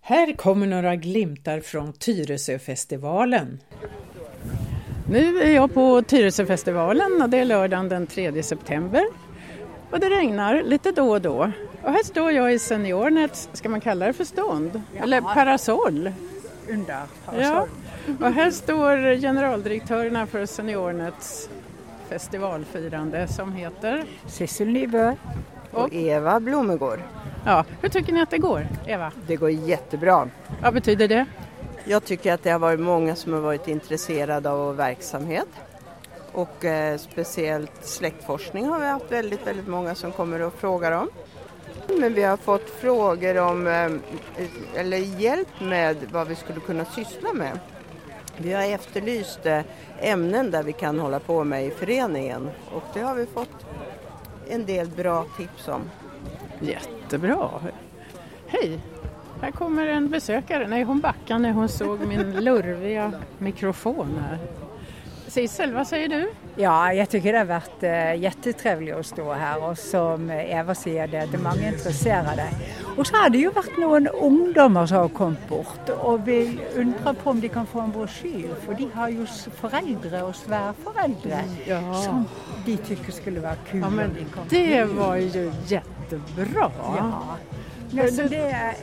Här kommer några glimtar från Tyresöfestivalen. Nu är jag på Tyresöfestivalen och det är lördagen den 3 september. Och det regnar lite då och då. Och här står jag i seniornets, ska man kalla det för stånd? Eller parasoll. under Ja. parasollen. Och här står generaldirektörerna för seniornets festivalfirande som heter... Cecil Nyberg och, Och? Eva Blomegård. Ja, hur tycker ni att det går, Eva? Det går jättebra. Vad betyder det? Jag tycker att det har varit många som har varit intresserade av vår verksamhet. Och eh, speciellt släktforskning har vi haft väldigt, väldigt många som kommer och frågar om. Men vi har fått frågor om, eh, eller hjälp med vad vi skulle kunna syssla med. Vi har efterlyst eh, ämnen där vi kan hålla på med i föreningen och det har vi fått en del bra tips om. Jättebra. Hej! Här kommer en besökare. Nej, hon backade när hon såg min lurviga mikrofon här. Sissel, vad säger du? Ja, jeg tycker det har vært eh, jättetrevligt att stå här och som Eva säger det, det är många intresserade. Och så har det ju varit några ungdomar som har kommit bort och vi undrar på om de kan få en broschyr, för de har ju s- föräldrar och svärföräldrar som de tycker skulle vara kul. Mm. Ja, om men de kom. det var ju jättebra. Ja. Men Nej, så du- det är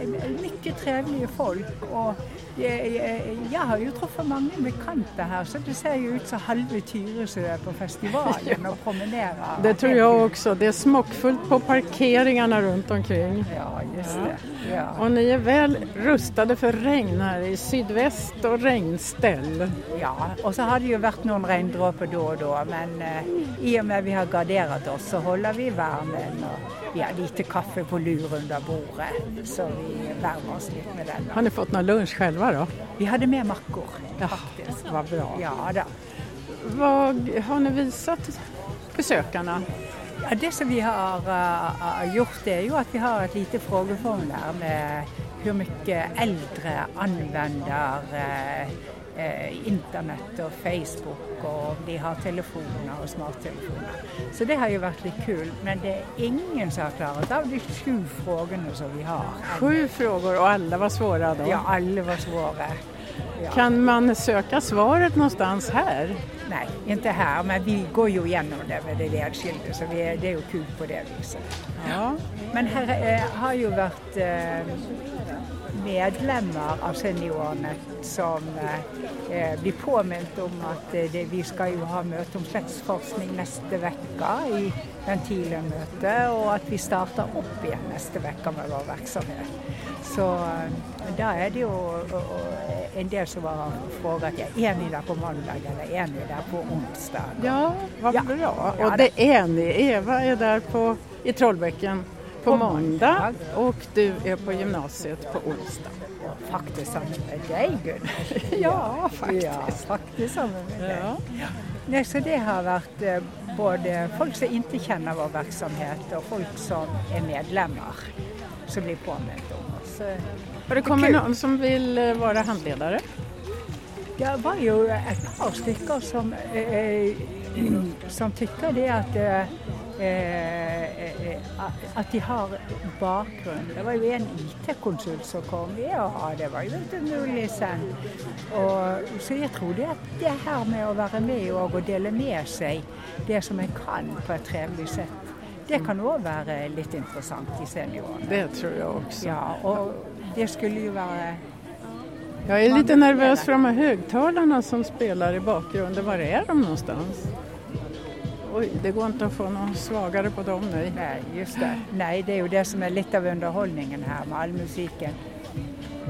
mycket trevliga folk och jag, jag, jag har ju träffat många bekanta här så det ser ju ut som halva Tyresö är på festivalen och promenerar. Det tror jag också. Det är smockfullt på parkeringarna runt omkring. Ja, just det. Ja, Och ni är väl rustade för regn här i sydväst och regnställ. ja. Och så har det ju varit någon regndroppe då och då men eh, i och med vi har garderat oss så håller vi värmen och vi har lite kaffe på lur under bordet så vi värmer oss lite med den. Har ni fått någon lunch själva då? Vi hade med mackor faktiskt. Vad bra. Ja, då. Vad har ni visat besökarna? Ja, det som vi har eh, gjort det är ju att vi har ett litet frågeformulär med hur mycket äldre använder eh, eh, internet och Facebook och om de har telefoner och smarttelefoner. Så det har ju varit lite kul, men det är ingen som har klarat av de sju frågorna som vi har. Sju frågor och alla var svåra då. Ja, alla var svåra. Ja. Kan man söka svaret någonstans här? Nej, inte här, men vi går ju igenom det med det enskilda så vi, är- det är ju kul på det viset. Ja. Men här eh, har ju varit eh, medlemmar av Seniornet som eh, eh, blir påmint om att eh, det, vi ska ju ha möte om släktsforskning nästa vecka i ventilenmöte och att vi startar upp igen nästa vecka med vår verksamhet. Så eh, där är det ju och, och, en del som har frågat, ja, är ni där på måndag eller är ni där på onsdag? Ja, vad Ja. bra. Ja, Och det är ni. Eva är där på, i Trollbäcken på måndag och du är på gymnasiet på onsdag. Faktiskt samma med dig Gunnar. Ja, Ja, faktiskt samma med dig. Ja. Nej, så det har varit eh, både folk som inte känner vår verksamhet och folk som är medlemmar som blir påminnt om oss. Och det kommer Kul. någon som vill eh, vara handledare. Det var ju ett par stycken som, eh, eh, som tycker det att, eh, eh, eh, att de har bakgrund. Det var ju en IT-konsult som kom. Ja, det var ju inte möjligt sen. Och, så jag tror det att det här med att vara med och och dela med sig det som man kan på ett trevligt sätt, det kan nog vara lite intressant i senioren. Det tror jag också. Ja, och det skulle ju vara Jag är lite Man- nervös för de här högtalarna som spelar i bakgrunden. Var är de någonstans? Oj, det går inte att få någon svagare på dem nej. Nej, just det. Nej, det är ju det som är lite av underhållningen här med all musiken.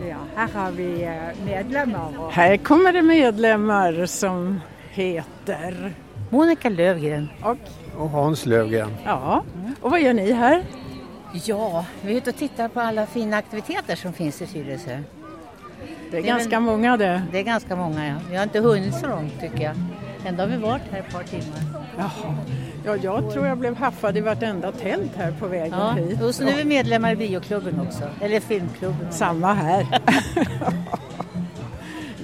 Ja, här har vi eh, medlemmar och Här kommer det medlemmar som heter... Monica Lövgren. Och, Och Hans Lövgren. ja. och vad gör ni här? Ja, vi är ute och tittar på alla fina aktiviteter som finns i Tyresö. Det är väl- ganska många det. Det är ganska många, ja. Vi har inte hunnit så långt tycker jag. Ändå har vi varit här ett par timmar. Ja, jag tror jag blev haffad i vartenda tält här på vägen Ja, hit. och så nu är vi medlemmar i bioklubben också, eller filmklubben. Samma här.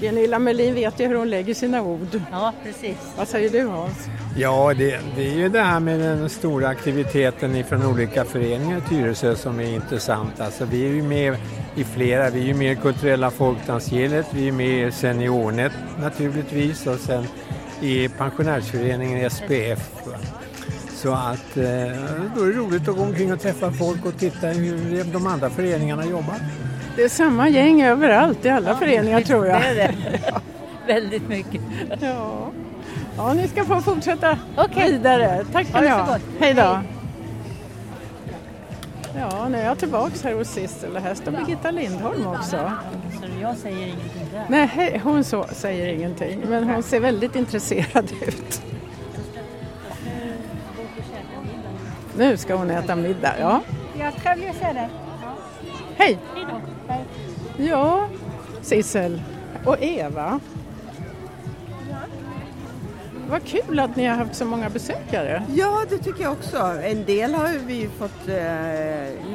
Gunilla Melin vet ju hur hon lägger sina ord. Ja, precis. Vad säger du Hans? Ja, det, det är ju det här med den stora aktiviteten från olika föreningar i Tyresö som är intressant. Alltså, vi är ju med i flera, vi är ju med i Kulturella Folkdansgillet, vi är med i Seniornet naturligtvis och sen i pensionärsföreningen SPF. va. Så att eh, då är det roligt att gå omkring och träffa folk och titta hur de andra föreningarna jobbar. Det är samma gäng överallt i alla föreningar tror jag. Det är det. Väldigt mycket. Ja. ja, ni ska få fortsätta Okej. vidare. Tack Ha för det ni så ha. gott. Hej då. Ja, nu är jag tillbaks här hos Sissel och här står Birgitta Lindholm också. Så jag säger ingenting där. Nej, hej, hon så, säger ingenting, men hon ser väldigt intresserad ut. Nu ska hon äta middag, ja. Ja, trevligt att se dig. Hej! Hej då. Hej. Ja, Sissel och Eva. Vad kul att ni har haft så många besökare. Ja, det tycker jag också. En del har ju vi fått eh,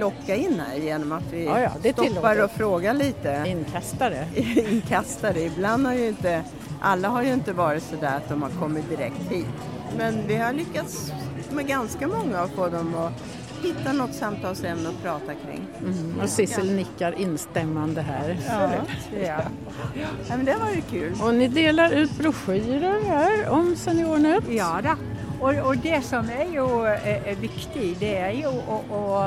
locka in här genom att vi Ja, ja, det stoppar tillåter. och frågar lite. Inkastare. Inkastare. Ibland har ju inte, alla har ju inte varit så där att de har kommit direkt hit. Men vi har lyckats med ganska många att få dem att hitta något samtalsämne att prata kring. Mm, och Sissel nickar instämmande här. Ja. ja, men det var ju kul. Och ni delar ut broschyrer här om SeniorNet. Ja da. Og, og det som er jo eh, eh, viktig, det er jo å, å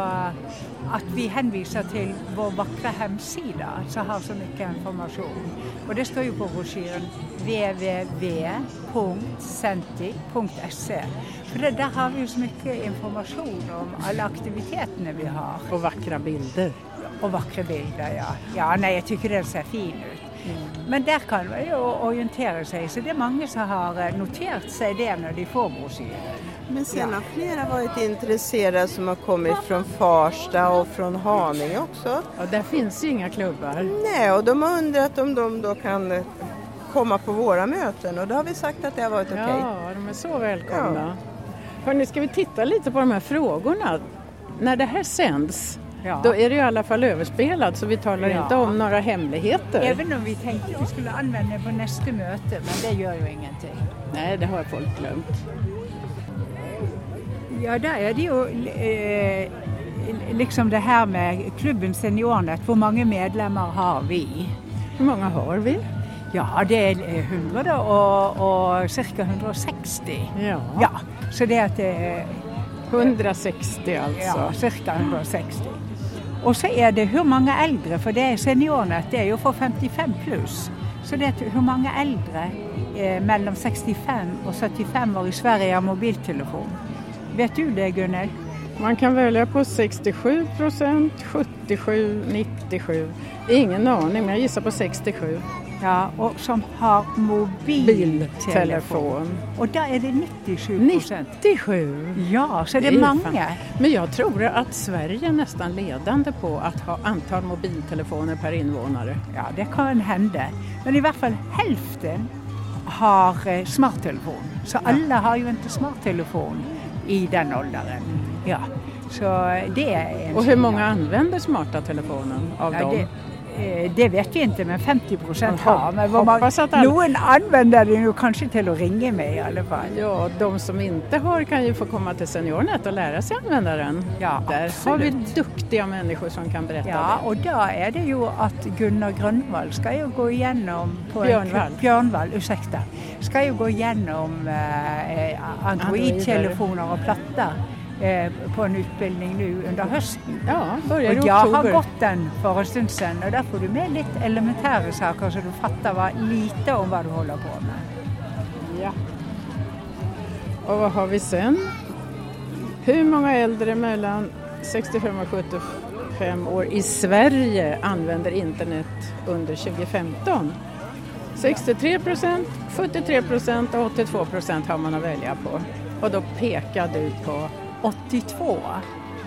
at vi henviser til vår vakre hemside som har så mye informasjon. Og det står jo på brosjyren www.senti.se. For det, der har vi jo så mye informasjon om alle aktivitetene vi har. Och vackra bilder. Och vackra bilder, ja. Ja, nej, jag tycker den ser fin ut. Men där kan man ju orientera sig, så det är många som har eh, noterat sig det när de får broschyren. Men sen har flera varit intresserade som har kommit från Farsta och från Haninge också. Och där finns ju inga klubbar. Nej, och de har undrat om de då kan eh, komma på våra möten och då har vi sagt att det har varit okej. Ja, de är så välkomna. Hörni, ska vi titta lite på de här frågorna? När det här sänds, Ja. då är det ju i alla fall överspelat så vi talar Ja. inte om några hemligheter. Även om vi tänkte vi skulle använda det på nästa möte, men det gör ju ingenting. Nej, det har folk glömt. Ja, där är det ju eh, liksom det här med klubben Seniornet. Hur många medlemmar har vi? Hur många har vi? Ja, det är eh, 100 och, och cirka 160. Ja, Ja, så det är att eh, det 160 alltså. Ja, cirka 160. Och så är det hur många äldre, för det är seniornet, det är ju för 55 plus. Så det är att hur många äldre eh, mellan 65 och 75 år i Sverige har mobiltelefon. Vet du det Gunnel? Man kan välja på 67 procent, 77, 97. Ingen aning, men jag gissar på 67. Ja, och som har mobiltelefon. Biltelefon. Och där är det 97 procent. 97! Ja, så det Det är är fan- många. Men jag tror att Sverige är nästan ledande på att ha antal mobiltelefoner per invånare. Ja, det kan hända. Men i hvert fall hälften har eh, smarttelefon. Så alla har ju inte smarttelefon i den åldern. Ja, så eh, det är en Och hur signal. många använder smarta telefonen av ja, dem? det, eh, det vet vi inte, men 50 procent Jaha. har. Men vad man, Hoppas att alla- någon använder det ju kanske till att ringa med i alla fall. Ja, de som inte har kan ju få komma till SeniorNet och lära sig använda den. Ja, Där har absolut. vi duktiga människor som kan berätta Ja, det. och då är det ju att Gunnar Grönvall ska ju gå igenom... På Björnvall. En, Björnvall, ursäkta. Ska ju gå igenom eh, eh, Android-telefoner och plattor eh, på en utbildning nu under hösten. Ja, börjar i Och jag har oktober. gått den för en stund sedan och där får du med lite elementära saker så du fattar vad, lite om vad du håller på med. Ja. Och vad har vi sen? Hur många äldre mellan 65 och 75 år i Sverige använder internet under 2015? 63 procent, 73 procent och 82 procent har man att välja på. Och då pekar du på 82.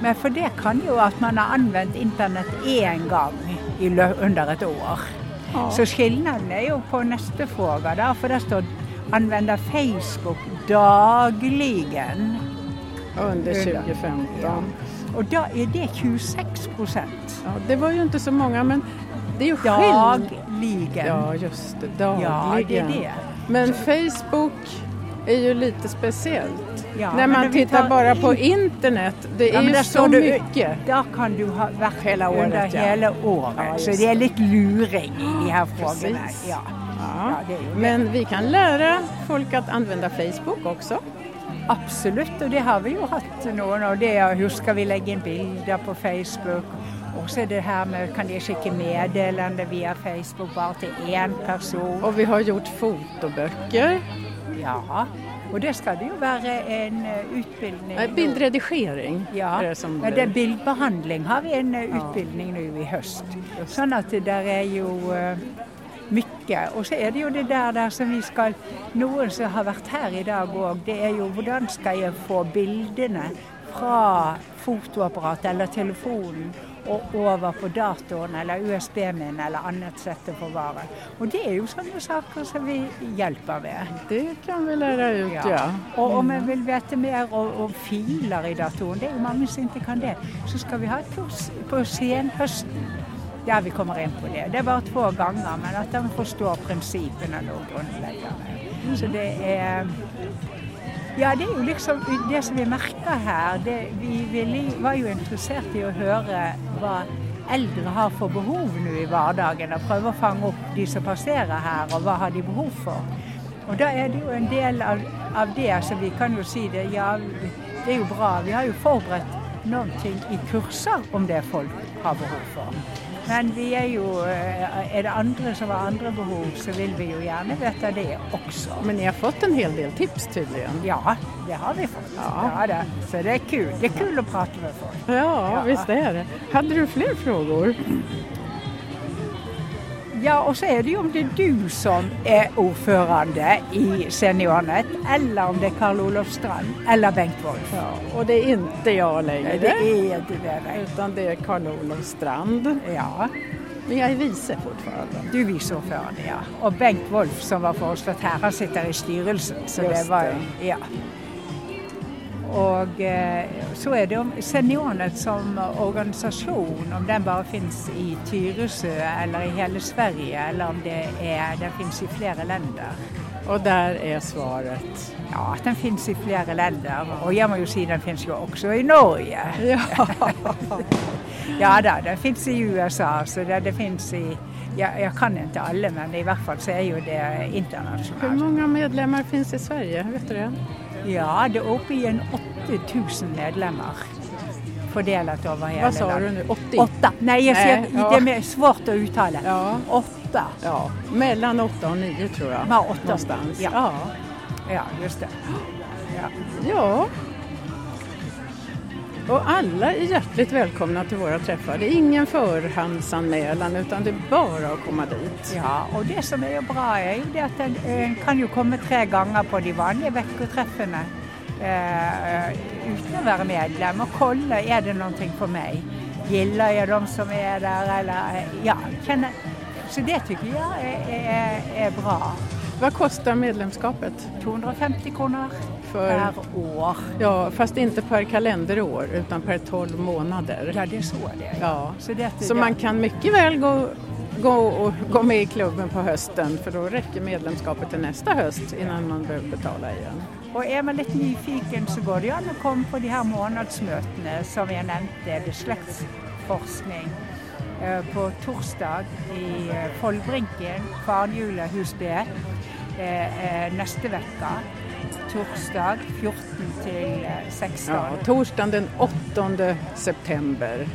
Men för det kan ju att man har använt internet en gång i, lö- under ett år. Så skillnaden är ju på nästa fråga där, för där står använda Facebook dagligen. under Under. 2015. Och då är det 26 procent. Ja, det var ju inte så många men det är ju skillnad. Dagligen. Ja, just det. Dagligen. Ja, det är det. Men Facebook är ju lite speciellt. Ja, När men om man vi tittar tar bara på in- internet, det är men ju där så står du- mycket. Da kan du ha vært Hele året, under ja. hele året. Ja, så just det er litt luring i de her frågorna. Precis. Ja. Ja. det är ju det. Men vi kan lära folk att använda Facebook också. Absolutt, og det har vi jo hatt noen av. Det er, husker vi legger inn bilder på Facebook. Og så er det her med kan de sjekke meddelende via Facebook bare til én person. Och vi har gjort fotoböcker. Ja, og det skal det jo være en eh, utbildning. Nej, Bildredigering Ja, är det som men det er blir. bildbehandling har vi en eh, utbildning nu i höst. Sånn at det der er jo eh, mye. Og så er det jo det der, der som vi skal Noen som har vært her i dag òg, det er jo hvordan skal jeg få bildene fra fotoapparatet eller telefonen og over på datoren eller USB-en min eller annet sett å forvare. Og det er jo sånne saker som vi hjelper med. Det kan vi lära ut, Ja. ja. Mm. Og om en vil vite mer om, om filer i datoren, det er jo mange som ikke kan det, så skal vi ha et kurs på senhøsten der vi kommer inn på det. Det er bare to ganger, men at de forstår prinsippene nå grunnleggende. Så det er Ja, det er jo liksom det som vi merker her. Det, vi ville- var jo interessert i å høre hva eldre har for behov nå i hverdagen, og prøve å fange opp de som passerer her, og hva har de behov for. Og da er det jo en del av, av det, så vi kan jo si det. Ja, det er jo bra. Vi har jo forberedt noen ting i kurser om det folk har behov for. Men vi er jo eh, Er det andre som har andre behov, så vil vi jo gjerne vite det også. Men ni har fått en hel del tips tydligen. Ja, det har vi fått. Ja. Ja, det. Så det er kul. Det er kul å prate med folk. Ja, visst är det. Hade du fler frågor? Ja, og så er det jo om det er du som er ordførende i Seniornett, eller om det er Karl Olof Strand eller Bengt Wolff. Och det är inte jag Nei, längre, det er ikke det, nei. utan det är Karl-Olof Strand. Ja. Men jag är vice fortfarande. Du er viseordføreren, ja. Og Bengt Wolff, som var foreslått her, han sitter i styrelsen. Så Just det var det. Ja. Og eh, så er det om Seniornet som organisasjon, om den bare finnes i Tyresø eller i hele Sverige, eller om det er, den finnes i flere länder. Och där är svaret. Ja, den finnes i flere länder, og jeg må jo si den finnes jo også i Norge. Ja. Ja da, den finnes i USA, så det, det finnes i ja, Jeg kan ikke alle, men i hvert fall så er jo det Hur internasjonalt. många medlemmar finns i Sverige? Vet du det? Ja, det er oppe i en 8000 medlemmer fordelt over hele Vad sa du nu? 80? Åtta. Nei, jeg sier, Nei, ja. det er mer svårt å uttale. Ja. Åtta. Ja, mellan 8 och 9 tror jag. Ja, åtta. Någonstans. Ja. Ja. Ja, just det. Ja. ja. Och alla är hjärtligt välkomna till våra träffar. Det är ingen förhandsanmälan utan det är bara att komma dit. ja, og det som er jo bra, er jo det at en, en kan jo komme tre ganger på de vanlige vekkertreffene eh, uten å være medlem, og kolle er det noe for meg. Gilder jeg dem som er der, eller eh, Ja, kjenner Så det tycker jeg er, er, er bra. Vad kostar medlemskapet? 250 kroner För- per år. Ja, fast inte per kalenderår utan per 12 månader. Ja, det så det. er. Ja. Så, det, Så man kan mycket väl gå, gå, och, gå med i klubben på hösten för då räcker medlemskapet till nästa höst innan man behöver betala igen. Og er man litt nyfiken, så går det jo an å komme på de her månedsmøtene som jeg nevnte, beslektsforskning, eh, på torsdag i eh, Follbrinken, Kvarnhjulet hus B, eh, eh, neste vekka. Torsdag 14 til eh, Ja, 16. torsdagen den 8 september,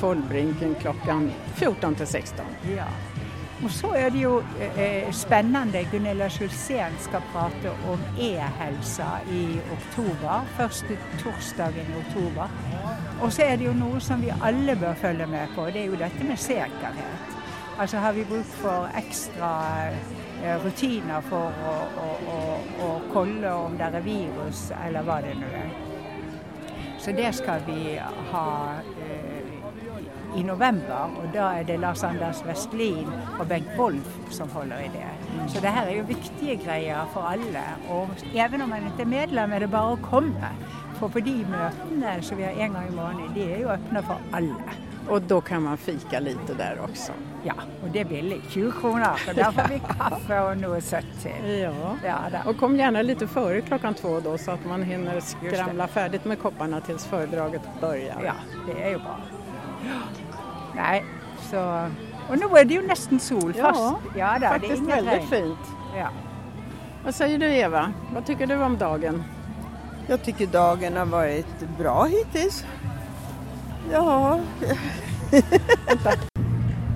Follbrinken klockan 14 till 16. Ja. Og så er det jo eh, eh, spennende. Gunilla Schulzén skal prate om e-helsa i oktober. Første torsdagen i oktober. Og så er det jo noe som vi alle bør følge med på. Det er jo dette med sikkerhet. Altså har vi bruk for ekstra eh, rutiner for å, å, å, å kolle om det er virus, eller hva det nå er. Så det skal vi ha eh, i november, og da er det Lars Anders Vestlin og Bengt Wolff som holder i det. Så det her er jo viktige greier for alle. Og even om man ikke er medlem, er det bare å komme. For på de møtene som vi har en gang i måneden, de er jo åpne for alle. Och då kan man fika lite där också. Ja, och det är billigt. 20 kronor. Så där får vi kaffe och noe søtt til. Ja. Ja da. Och kom gärna lite före klockan två då så att man hinner skramla färdigt med kopparna tills föredraget börjar. Ja, det er jo bra. Nei, så Og nå er det jo nesten sol Ja, fast. Ja da, det er Faktiskt ingen väldigt regn. fint. Ja. Vad säger du Eva? Vad tycker du om dagen? Jag tycker dagen har varit bra hittills. Ja,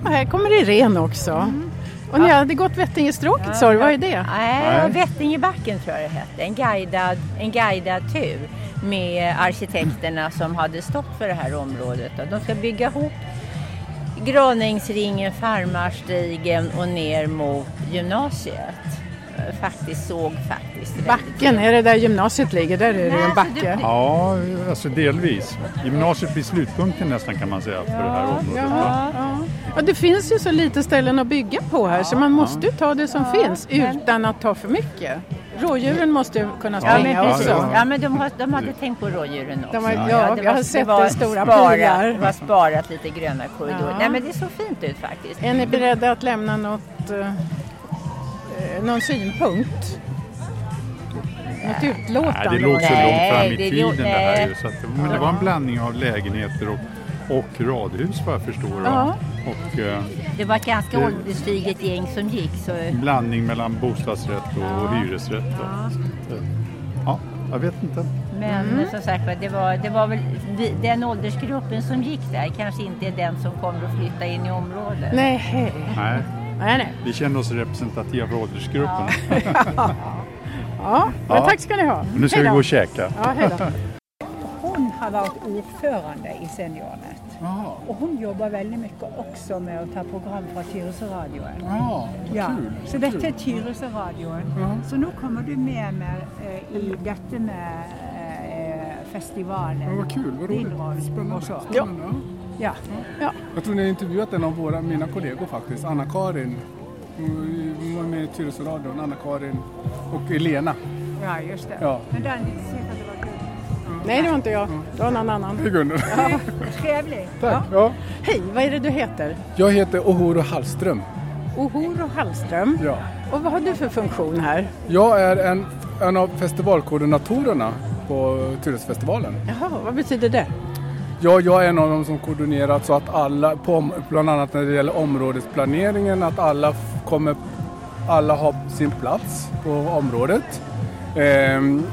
Och här kommer Irene också. Mm. Och ni hade gått Vättingestråket sa du, vad är det? Nej, och Vättingebacken tror jag det hette. En guidad, en guidad tur med arkitekterna som hade stått för det här området. Och De ska bygga ihop Graningsringen, Farmarstigen och ner mot gymnasiet. Eh, Faktiskt såg faktiskt väldigt- Backen, är det där gymnasiet ligger? Där är det ju en alltså, backe. Ja, alltså delvis. Gymnasiet blir slutpunkten nästan kan man säga för det här området. va? Ja. Och det finns ju så lite ställen att bygga på här så man måste ju ta det som finns utan att ta för mycket. Rådjuren måste ju kunna Ja springa men precis, också. ja, men de, har, de hade tänkt på rådjuren också. De har- ja, jag har var- sett var det, stora sparat, pilar. Det var sparat lite gröna korridorer. Ja. Nej men det såg fint ut faktiskt. Är ni beredda att lämna något, eh, eh, någon synpunkt? Något Nej, utlåtande? det låg så Nej, långt fram i det tiden låg- det här nej. ju. Så att, men det var en blandning av lägenheter och, och radhus vad jag förstår. Ja. va? Och eh, Det var ett ganska Det- ålderstiget gäng som gick så en blandning mellan bostadsrätt och, och hyresrätt. Då. Så att, eh, ja, jag vet inte. Men som sagt var, det var, det var väl vi- den åldersgruppen som gick där kanske inte är den som kommer att flytta in i området. Nej, Nej, nej, nej. vi känner oss representativa för åldersgruppen. Ja, men Ja. tack ska ni ha. Nu ska Hej vi då. gå och käka. Ja, hej då. Hun har vært ordførende i Seniornett. Og hun jobber veldig mye også med å ta program fra Tyresøradioen. Ja. Så dette er Tyresøradioen. Så nå kommer du med meg eh, i dette med eh, festivalen. Ja, vad kul, vad Din roligt. roll Spännande. och så. Spännande. Ja. Ja. Jag tror ni har intervjuat en av våra, mina kollegor faktiskt, Anna-Karin. Hon var med i Tyresöradion, Anna-Karin och Elena. ja, just det. Ja. Men den sikkert det var kul. Nej, det var inte jag. Det var någon annan. Hej Gunnar. Trevlig. Tack. Ja. Hej, vad är det du heter? Jag heter Ohoro Hallström. Ohoro Hallström. Ja. Och vad har du för funktion här? Jag är en, en av festivalkoordinatorerna på Tyresöfestivalen. Jaha, vad betyder det? Ja, jag är en av dem som koordinerat så att alla, på, om- bland annat när det gäller områdesplaneringen, att alla f- kommer, alla har sin plats på området. Ehm,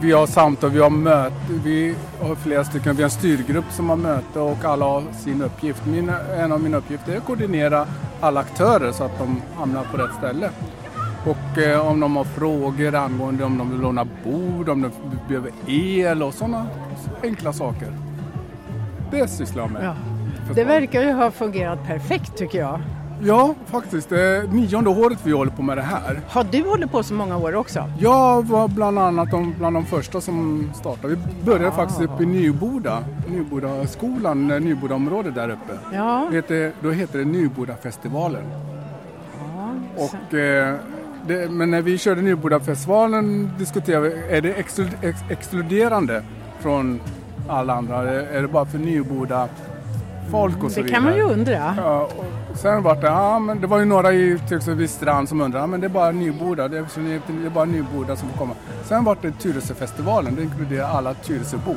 vi har samtal, vi har möte, vi har flera stycken, vi har en styrgrupp som har möte och alla har sin uppgift. Min, en av mina uppgifter är att koordinera alla aktörer så att de hamnar på rätt ställe. Och eh, om de har frågor angående om de vill låna bord, om de behöver el och sådana enkla saker. Det sysslar jag med. Ja. För Det fan. verkar ju ha fungerat perfekt tycker jag. Ja, faktiskt. Det är nionde året vi håller på med det här. Har du hållit på så många år också? Jag var bland annat de, bland de första som startade. Vi började Ah. faktiskt uppe i Nyboda, Nyboda skolan, eh, Nybodaområdet där uppe. Ja. Det heter, då heter det Nybodafestivalen. Ah, Och, eh, det, men när vi körde Nybodafestivalen diskuterade vi, är det exklu- ex, exkluderande från alla andra? Är är det bara för Nyboda folk och så Det vidare? kan man ju undra. Ja, och sen var det, ja, men det var ju några i till exempel vid Strand som undrade, ja, men det är bara Nyboda, det är, så ni- det är bara Nyboda som får komma. Sen var det Tyresöfestivalen, det inkluderar alla Tyresöbor.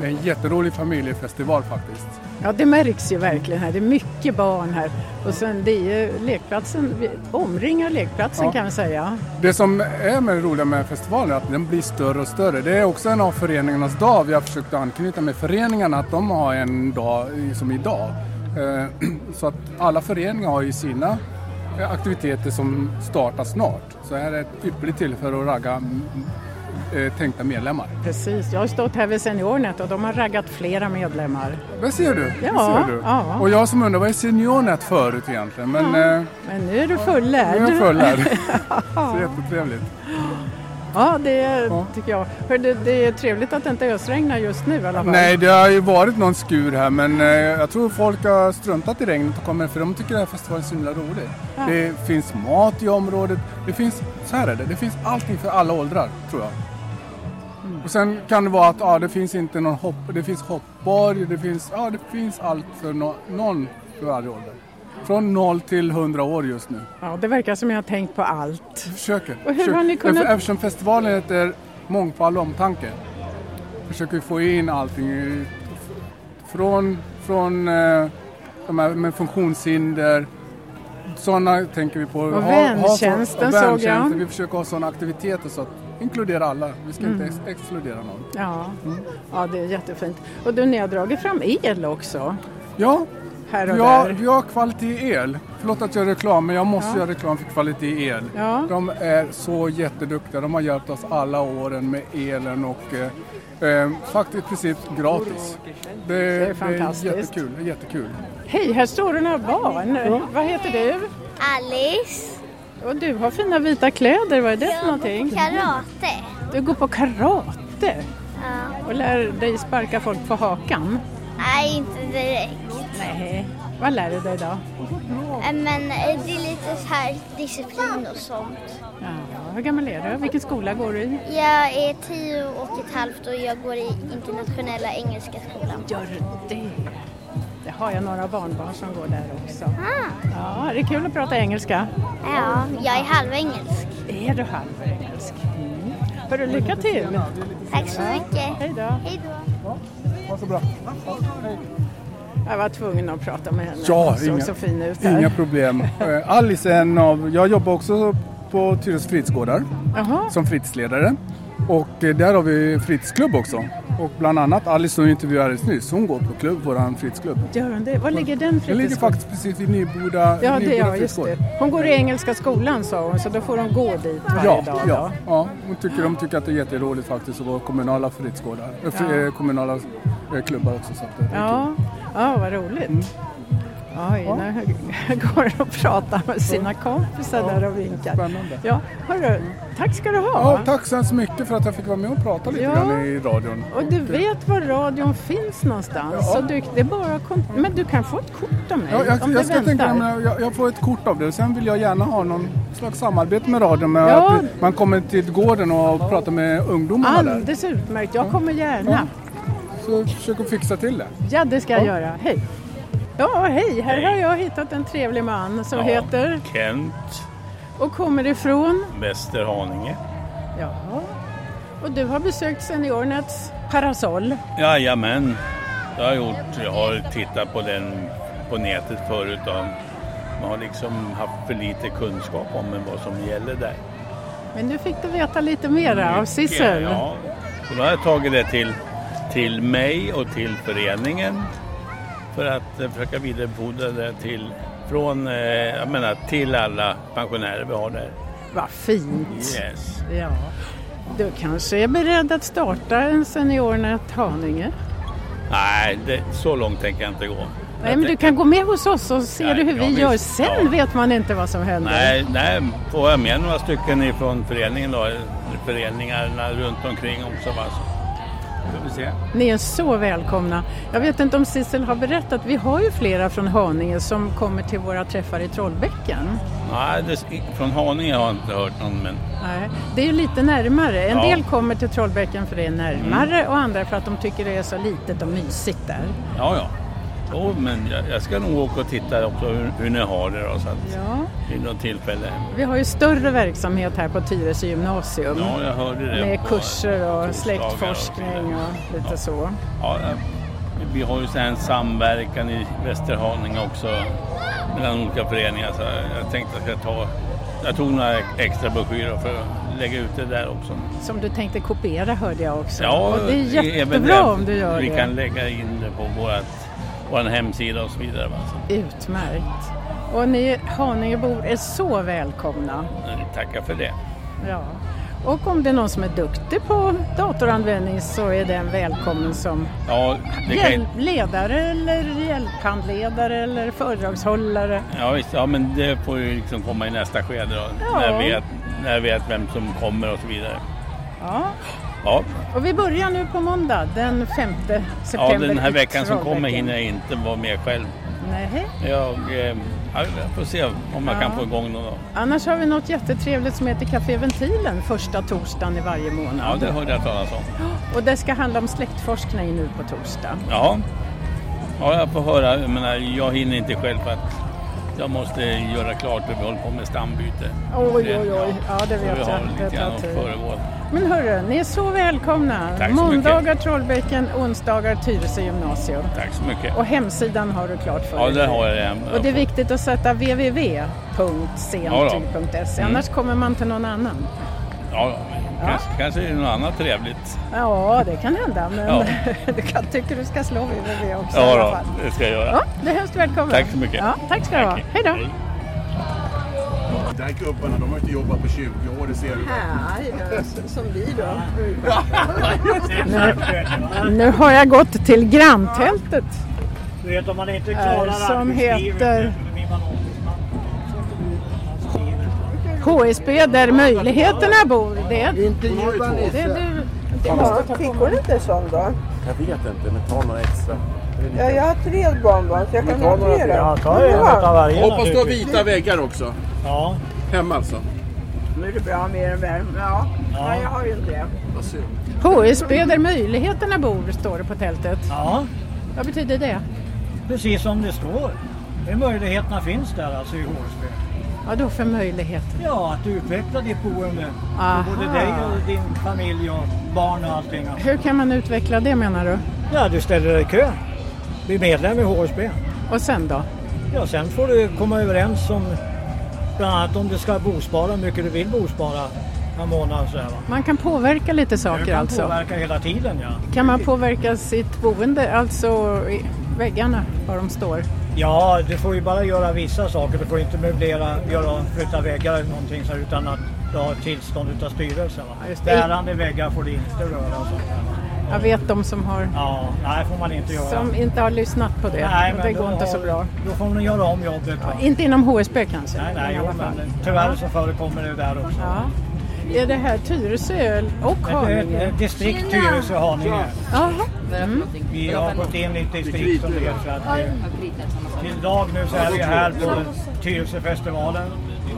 Det är en jätterolig familjefestival faktiskt. Ja, det märks ju verkligen här. Det är mycket barn här. Och sen det är ju lekplatsen, vi omringar lekplatsen Ja. kan man säga. Det som är med det roliga med festivalen är att den blir större och större. Det är också en av föreningarnas dag. Vi har försökt att anknyta med föreningarna att de har en dag i- som idag. Eh, Så att alla föreningar har ju sina eh, aktiviteter som startar snart. Så här är ett ypperligt tillfälle att ragga mm, eh, tänkta medlemmar. Precis, jag har stått här vid SeniorNet och de har raggat flera medlemmar. Där ser du! där Ja, ser du. ja. Och jag som undrar, vad är SeniorNet förut egentligen? Men eh, Men nu nu är är du jag fullärd. fullärd. Så jättetrevligt. Ja, det Ja. tycker jag. För det, det är trevligt att det inte ösregnar just nu i alla fall. Nej, det har ju varit någon skur här men eh, jag tror folk har struntat i regnet och kommer för de tycker den här festivalen är så himla rolig. Det finns mat i området, det finns, så här är det, det finns allting för alla åldrar tror jag. Och sen kan det vara att ja, det finns inte någon hopp, det finns hoppborg, det finns, ja, det finns allt för no, någon för varje ålder. Från 0 till 100 år just nu. Ja, det verkar som jag har tänkt på allt. Försöker. Och hur försöker. har ni kunnat- Eftersom- Eftersom festivalen heter Mångfald och omtanke försöker vi få in allting i- från, från eh, de här med funktionshinder sådana tänker vi på. Och ha, väntjänsten och såg jag. väntjänsten. Vi försöker ha sådana aktiviteter så att inkludera alla. Vi ska inte Mm. ex- exkludera någon. Ja. ja, det är jättefint. Och du, ni har dragit fram el också. Ja, här och Vi har, där. vi har kvalitet i el. Förlåt att jag gör reklam, men jag måste Ja. göra reklam för kvalitet i el. Ja. De är så jätteduktiga. De har hjälpt oss alla åren med elen och eh, eh, faktiskt i princip gratis. Det, är Det fantastiskt. är jättekul. Det är jättekul. Hej, här står det några barn. Vad heter du? Alice. Och du har fina vita kläder. Vad är det för någonting? Karate. Du går på karate Ja. och lär dig sparka folk på hakan. Nej, inte direkt. Nej. Vad lär du dig då? Äh, Men eh, det är lite så här disciplin och sånt. Ja, hur gammal är du? Vilken skola går du i? Jag är tio och ett halvt och jag går i internationella engelska skolan. Gör det? Det har jag några barnbarn som går där också. Ja, det är kul att prata engelska. Ja, jag är halvengelsk. Är du halvengelsk? Mm. Hörru, lycka till! Tack så mycket. Hej då. Hej då. Ha så bra. Jag var tvungen att prata med henne. Ja, Hon såg inga- så fin ut där. Inga problem. Eh, Alice är en av... Jag jobbar också på Tyresö fritidsgårdar Jaha. som fritidsledare. Och eh, där har vi fritidsklubb också. Och bland annat Alice som vi intervjuade alldeles nyss, hon går på klubb, vår fritidsklubb. Gör hon det? Var ligger den Den ligger fritidsgården? faktiskt precis vid Nyboda Ja, det Nyboda ja, just fritidsgård. det. Hon går i Engelska skolan sa hon, så då får hon gå dit varje Ja, dag. då. ja, ja. Hon tycker, de tycker att det är jätteroligt faktiskt att vara kommunala fritidsgårdar, eh, fri- Ja. eh, kommunala eh, klubbar också. Så att det är kul. Ja, ja vad roligt. Mm. Oj, nu går och pratar med sina kompisar där och vinkar. Spännande. Ja, hörru, tack ska du ha. Ja, tack så hemskt mycket för att jag fick vara med och prata lite Ja. grann i radion. Och du vet var radion finns någonstans. Ja. Så du, det är bara att kont- Men du kan få ett kort av mig Ja, jag, om jag, du ska tänka, väntar. men jag, jag får ett kort av det. Sen vill jag gärna ha någon slags samarbete med radion. Med Ja. att man kommer till gården och pratar med ungdomarna där. Alldeles utmärkt, jag kommer gärna. Så försök att fixa till det. Ja, det ska jag Ja. göra. Hej! Ja, hej! Här Hej. har jag hittat en trevlig man som Ja. heter Kent och kommer ifrån. Västerhaninge. Jaha. Och du har besökt Seniornets parasoll. Jajamän, det har jag gjort. Jag har tittat på den på nätet förut. och Man har liksom haft för lite kunskap om vad som gäller där. Men nu fick du veta lite mera av Sissel. Ja, och då har jag tagit det till, till mig och till föreningen för att eh, försöka vidarebefordra det till, från, eh, jag menar, till alla pensionärer vi har där. Vad fint! Yes. Ja. Du kanske är beredd att starta en Seniornet Haninge? Nej, det, så långt tänker jag inte gå. Nej, men du kan gå med hos oss och se Ja, du hur vi ja, gör. visst. Sen Ja. vet man inte vad som händer. Nej, nej, får jag med några stycken ifrån föreningen då, eller föreningarna runt omkring också. Va? Så får vi se. Ni är så välkomna. Jag vet inte om Sissel har berättat, vi har ju flera från Haninge som kommer till våra träffar i Trollbäcken. Nej, det, från Haninge har jag inte hört någon men Nej, det är ju lite närmare. En Ja. Mm. del kommer till Trollbäcken för det är närmare och andra för att de tycker det är så litet och mysigt där. ja, ja. Jo, men jag, jag ska nog åka och titta också hur, hur ni har det då så att Ja. vid något tillfälle. Vi har ju större verksamhet här på Tyresö gymnasium. Ja, jag hörde det. Med på- kurser och torsdagar och släktforskning och lite så. Ja, ja. vi har ju så här en samverkan i Västerhaninge också mellan olika föreningar så jag tänkte att jag tar jag tog några extra broschyrer för att lägga ut det där också. Som du tänkte kopiera hörde jag också. Ja, och det är även jättebra om du gör vi det. kan lägga in det på vårt, vår hemsida och så vidare. Va? Så, Utmärkt. Och ni Haningebor är så välkomna. eh, tackar för det. Ja. Och om det är någon som är duktig på datoranvändning så är den välkommen som Ja, det kan, ju- hjäl- ledare eller hjälphandledare eller föredragshållare. ja, visst, ja, men det får ju liksom komma i nästa skede då, Ja. när, jag vet, när jag vet vem som kommer och så vidare. Ja. Ja, Och vi börjar nu på måndag den 5 september. ja den här i veckan som kommer Trollhättan. hinner jag inte vara med själv. Nej. Jag, eh, ja, jag får se om man Ja. kan få igång någon dag. Annars har vi något jättetrevligt som heter Café Ventilen första torsdagen i varje Ja, månad. det hörde jag talas om. Och det ska handla om släktforskning nu på torsdag. Ja, ja jag får höra. Jag, menar, jag hinner inte själv för att jag måste göra klart hur vi håller på med stambyte. Oj, Det- oj, oj. Ja, det så vet vi har jag. lite Det grann tar att tid. föregå. Men hörru, ni är så välkomna. Tack så Måndagar Trollbäcken, onsdagar Tyresö gymnasium. Tack så mycket. Och hemsidan har du klart för Ja, dig. det har jag redan. Och det är viktigt att sätta www.sentyg.se, Mm. annars kommer man till någon annan. Ja, kanske, kanske är det något annat trevligt. Ja, det kan hända, men Ja. du kan, tycker du ska slå www också i Ja, alla då, fall. det ska jag göra. Ja, du är hemskt välkommen. Tack så mycket. Ja, tack ska du ha. Hej då. De här gubbarna, de har inte jobbat på 20 år, det ser du. som vi då. Nu, nu har jag gått till granntältet Du vet om man inte eh, klarar som arbetslivet, heter då blir man HSB där möjligheterna bor. Det är, det är du. Det måste ta Fick hon inte sån då? Jag vet inte, men ta några extra. Ja, jag har tre barnbarn så jag kan Men ta några ha flera. Ja, ta Men en bra. utav varje Hoppas du har vita väggar också. Ja. Hemma alltså. Nu är det bra mer än värme. Ja. Nej, jag har ju inte det. HSB där möjligheterna bor, står det på tältet. Ja. Vad betyder det? Precis som det står. Det är möjligheterna finns där alltså i Hårsby. Vad då för möjligheter? Ja, att utveckla ditt boende. Aha. För Både dig och din familj och barn och allting. alltså. Hur kan man utveckla det menar du? Ja, du ställer dig i kö. Bli medlem i HSB. Och sen då? Ja, sen får du komma överens om bland annat om du ska bospara, hur mycket du vill bospara per månad och så här, va. Man kan påverka lite saker Du kan alltså? påverka hela tiden ja. Kan man påverka sitt boende, alltså i- väggarna, var de står? Ja, du får ju bara göra vissa saker. Du får inte möblera, göra, flytta väggar eller någonting så här, utan att du har tillstånd utav styrelsen. Va? just det. Bärande väggar får du inte röra och sånt där. Jag vet de som har Ja, nej får man inte göra. som inte har lyssnat på det. Nej, och men det då går inte har- så bra. Då får man göra om jobbet. va? Inte inom HSB kanske? Nej, nej, i jo, alla fall. men tyvärr så förekommer det där också. Ja. Är det här Tyresö och Men det är- det Haninge? är Distrikt Tyresö och Haninge. Jaha. Mm. Vi har gått in i ett distrikt som det heter. så att, eh, Till dag nu så är vi här på Tyresöfestivalen.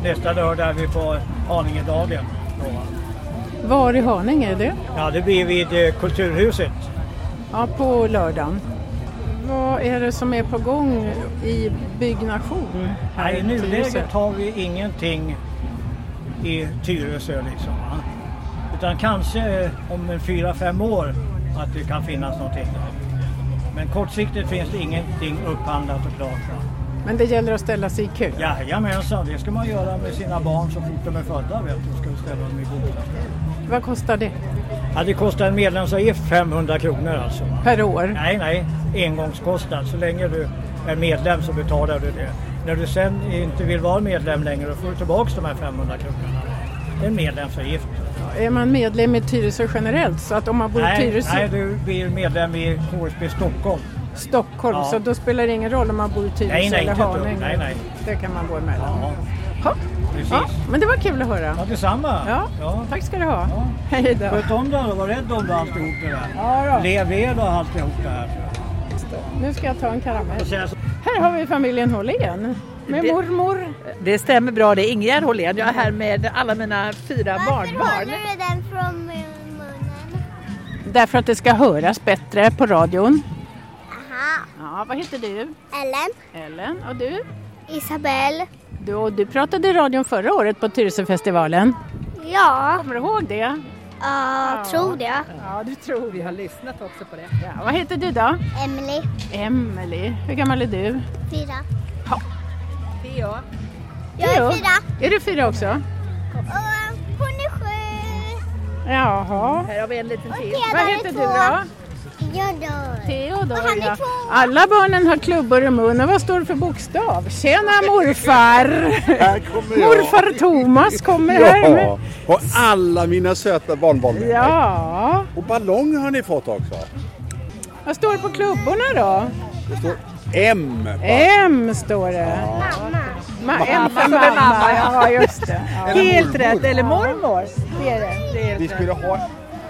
Nästa lördag är vi på Haningedagen. då, va. Var i Haninge är det? Ja, det blir vid eh, Kulturhuset. Ja, på lördagen. Vad är det som är på gång i byggnation? Mm. Nej, I Tyresö? nuläget har vi ingenting i Tyresö liksom. Va? Utan kanske eh, om en fyra, fem år att det kan finnas någonting där. Men kortsiktigt finns det ingenting upphandlat och klart. va. Men det gäller att ställa sig i kö? Jajamensan, alltså. det ska man göra med sina barn så fort de är födda. Vet du, ska du ställa dem i bostad. Vad kostar det? Ja, det kostar en medlemsavgift 500 kronor alltså. va? Per år? Nej, nej, engångskostnad. Så länge du är medlem så betalar du det. När du sen inte vill vara medlem längre då får du tillbaka de här 500 kronorna. Det är en medlemsavgift. Är man medlem i Tyresö generellt? Så att om man bor i Nej, Tyresö, nej, du blir medlem i HSB Stockholm. Stockholm, Ja. så då spelar det ingen roll om man bor i Tyresö Nej, nej, eller inte ett dugg. Haninge? Nej, nej. Det kan man gå emellan? Ja, Ja. precis. ja, men det var kul att höra. Ja, detsamma. Ja. Ja. Tack ska du ha. Hej då. Sköt om dig och var rädd om dig alltihop det där. Ja, då. Lev er och alltihop det här. Nu ska jag ta en karamell. Här har vi familjen Hållén med Det- mormor. Det stämmer bra, det är Ingrid Hållén. Jag är här med alla mina fyra barnbarn. Håller du den från min mun? Därför att det ska höras bättre på radion. Aha. Ja, vad heter du? Ellen. Ellen, och du? Isabel. Du, och du pratade i radion förra året på Tyresöfestivalen. Ja. Kommer du ihåg det? Ja, tror det. Ja, du tror jag. har lyssnat också på det. Ja, vad heter du då? Emily. Emelie. Hur gammal är du? Fyra. Theo. Jag är fyra. Är du fyra också? Och hon är sju. Jaha. Här har vi en liten till. Theodor Vad är heter du två. då? Theodor. Theodor. Och han är ja. två. Alla barnen har klubbor i munnen. Vad står det för bokstav? Tjena morfar! jag. Morfar Thomas kommer här. med- och alla mina söta barnbarn. Ja. Och ballonger har ni fått också. Vad står det på klubborna då? Det står M. M står det. Ma Mamma. M för Som är mamma. mamma, Ja, ja. just det. Ja. Helt rätt, eller mormor. Det är det. det är Vi rätt. skulle ha...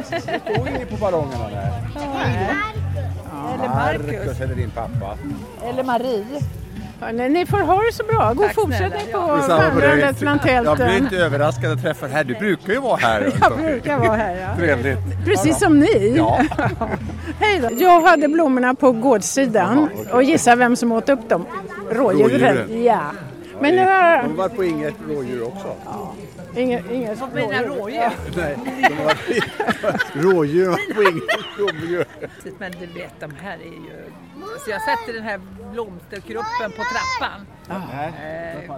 Det står ju på ballongerna där. Nej. Eller Marcus. eller din pappa. Eller Marie. Hörrni, ni får ha det så bra. God fortsättning på vandrandet bland Jag blir inte tälten. överraskad att träffa dig här. Du brukar ju vara här. runt Jag om. brukar vara här. Ja. Trevligt. Precis som ni. Ja. Hej då. Jag hade blommorna på gårdsidan och gissa vem som åt upp dem? Rådjuren. Rådjuren. Ja. Men nu har De var på inget rådjur också. inget... inget Mina rådjur. Nej, de var rådjur var på inget rådjur. Men du vet, de här är ju... Alltså jag sätter den här blomsterkruppen på trappan. Ah. Eh,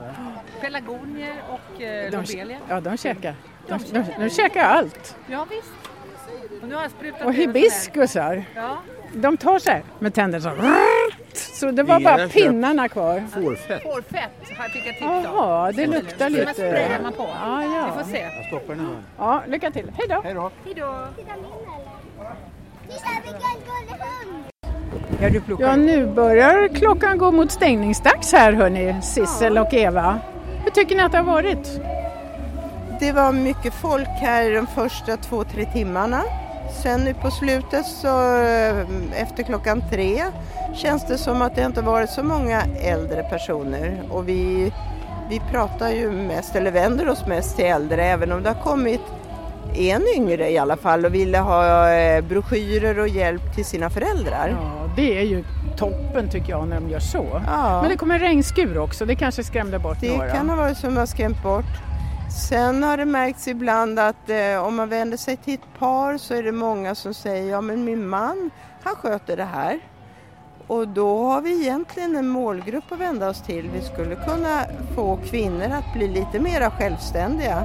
pelargonier och eh, De, lobelia. ja, de käkar. De, de, de käkar allt. Ja, visst. Och nu har jag sprutat Och över den här. hibiskusar. Ja. De tar sig med tänderna så Så det var bara pinnarna kvar. Fårfett har jag fick jag tips om. Jaha, det luktar Så lite. Det sprayar man på. Ja, ja. Vi får se. stoppar den Ja, lycka till. Hej då. Hej då. Titta vilken gullig hund! Ja, nu börjar klockan gå mot stängningsdags här hörni, Sissel och Eva. Hur tycker ni att det har varit? Det var mycket folk här de första två, tre timmarna. Sen nu på slutet så eh, efter klockan tre känns det som att det inte varit så många äldre personer och vi, vi pratar ju mest, eller vänder oss mest till äldre även om det har kommit en yngre i alla fall och ville ha eh, broschyrer och hjälp till sina föräldrar. Ja, det är ju toppen tycker jag när de gör så. Ja. Men det kommer en regnskur också, det kanske skrämde bort Det några. kan ha varit som har skrämt bort. Sen har det märkts ibland att eh, om man vänder sig till ett par så är det många som säger ja men min man han sköter det här. Och då har vi egentligen en målgrupp att vända oss till. Vi skulle kunna få kvinnor att bli lite mera självständiga.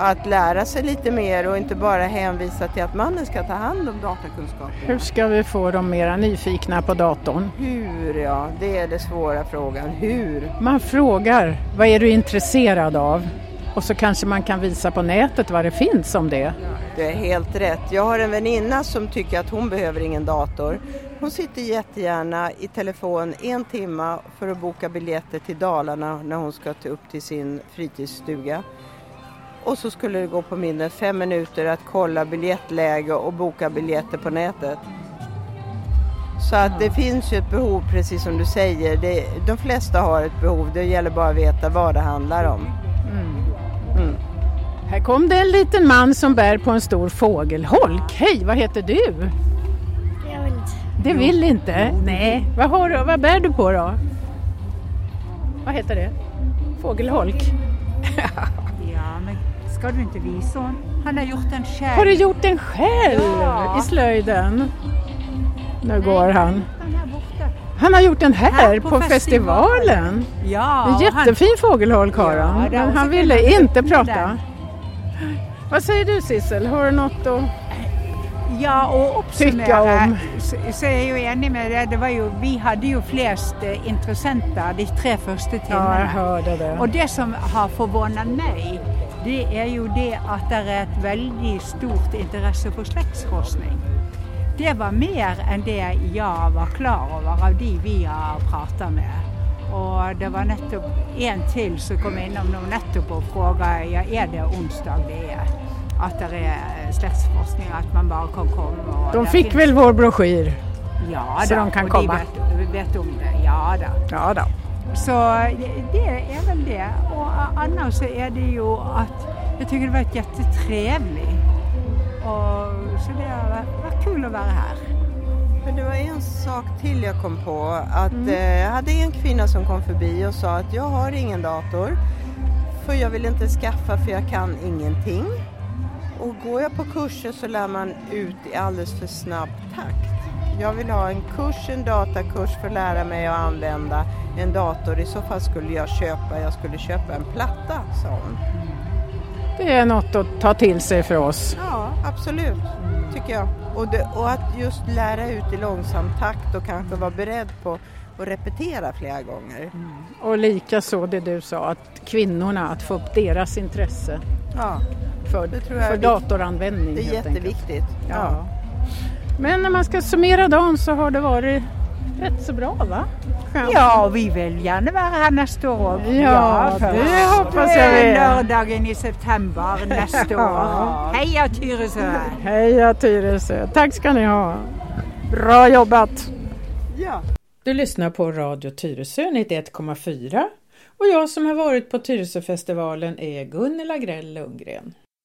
Att lära sig lite mer och inte bara hänvisa till att mannen ska ta hand om datakunskapen. Hur ska vi få dem mera nyfikna på datorn? Hur ja, det är den svåra frågan. Hur? Man frågar, vad är du intresserad av? Och så kanske man kan visa på nätet vad det finns om det. Du är helt rätt. Jag har en väninna som tycker att hon behöver ingen dator. Hon sitter jättegärna i telefon en timme för att boka biljetter till Dalarna när hon ska till- upp till sin fritidsstuga. Och så skulle det gå på mindre än fem minuter att kolla biljettläge och boka biljetter på nätet. Så att det finns ju ett behov, precis som du säger. Det, de flesta har ett behov, det gäller bara att veta vad det handlar om. Här kom det en liten man som bär på en stor fågelholk. Hej, vad heter du? Jag vill inte. Det vill inte? Nej. Vad, har du, vad bär du på då? Vad heter det? Fågelholk. Ja, men ska du inte visa honom? Han har gjort den själv. Har du gjort den själv Ja. i slöjden? Nu går han. Den här borta. Han har gjort den här, Här på, på festivalen. Ja, och en han- jättefin fågelholk har Ja, han. där, Men och han så kan ville han inte öppna prata. den. Vad säger du Sissel? Har du något att... Ja, och Tycka om. uppsummera så, så är jag ju enig med det. det var ju, vi hade ju flest eh, intressenter de tre första timmarna. Ja, jag hörde det. Och det som har förvånat mig, det är ju det att det är ett väldigt stort intresse för släktsforskning. Det var mer än det jag var klar över av de vi har pratat med. Och det var nettopp en till som kom in och nettopp och frågade, ja, är det onsdag det är? Att det är släktsforskning, att man bara kan komma. Och De det fick finns- väl vår broschyr? Ja, Så då, de kan och komma. De vet, vet om det, ja då. Ja då. Så det- det är väl det. Och a- annars så är det ju att jag tycker det varit jättetrevligt. Och, så det har varit- varit kul att vara här. Men det var en sak till jag kom på. Att, eh, jag hade en kvinna som kom förbi och sa att jag har ingen dator. För jag vill inte skaffa för jag kan ingenting. Och går jag på kurser så lär man ut i alldeles för snabb takt. Jag vill ha en kurs, en datakurs för att lära mig att använda en dator. I så fall skulle jag köpa, jag skulle köpa en platta, sa hon. Det är något att ta till sig för oss. Ja, absolut, tycker jag. Och, det, och att just lära ut i långsam takt och kanske vara beredd på att repetera flera gånger. Mm. Och lika så det du sa, att kvinnorna, att få upp deras intresse Ja, för, det tror jag för är datoranvändning. Det är helt enkelt. jätteviktigt. Ja. Men när man ska summera dagen så har det varit rätt så bra va? Skönt. Ja, och vi vill gärna vara här nästa år. Ja, det först. hoppas Det jag vi är. är. Lördagen i september nästa Ja. år. Heja Tyresö! Heja Tyresö! Tack ska ni ha! Bra jobbat! Ja. Du lyssnar på Radio Tyresö 91,4 och jag som har varit på Tyresöfestivalen är Gunilla Grell Lundgren.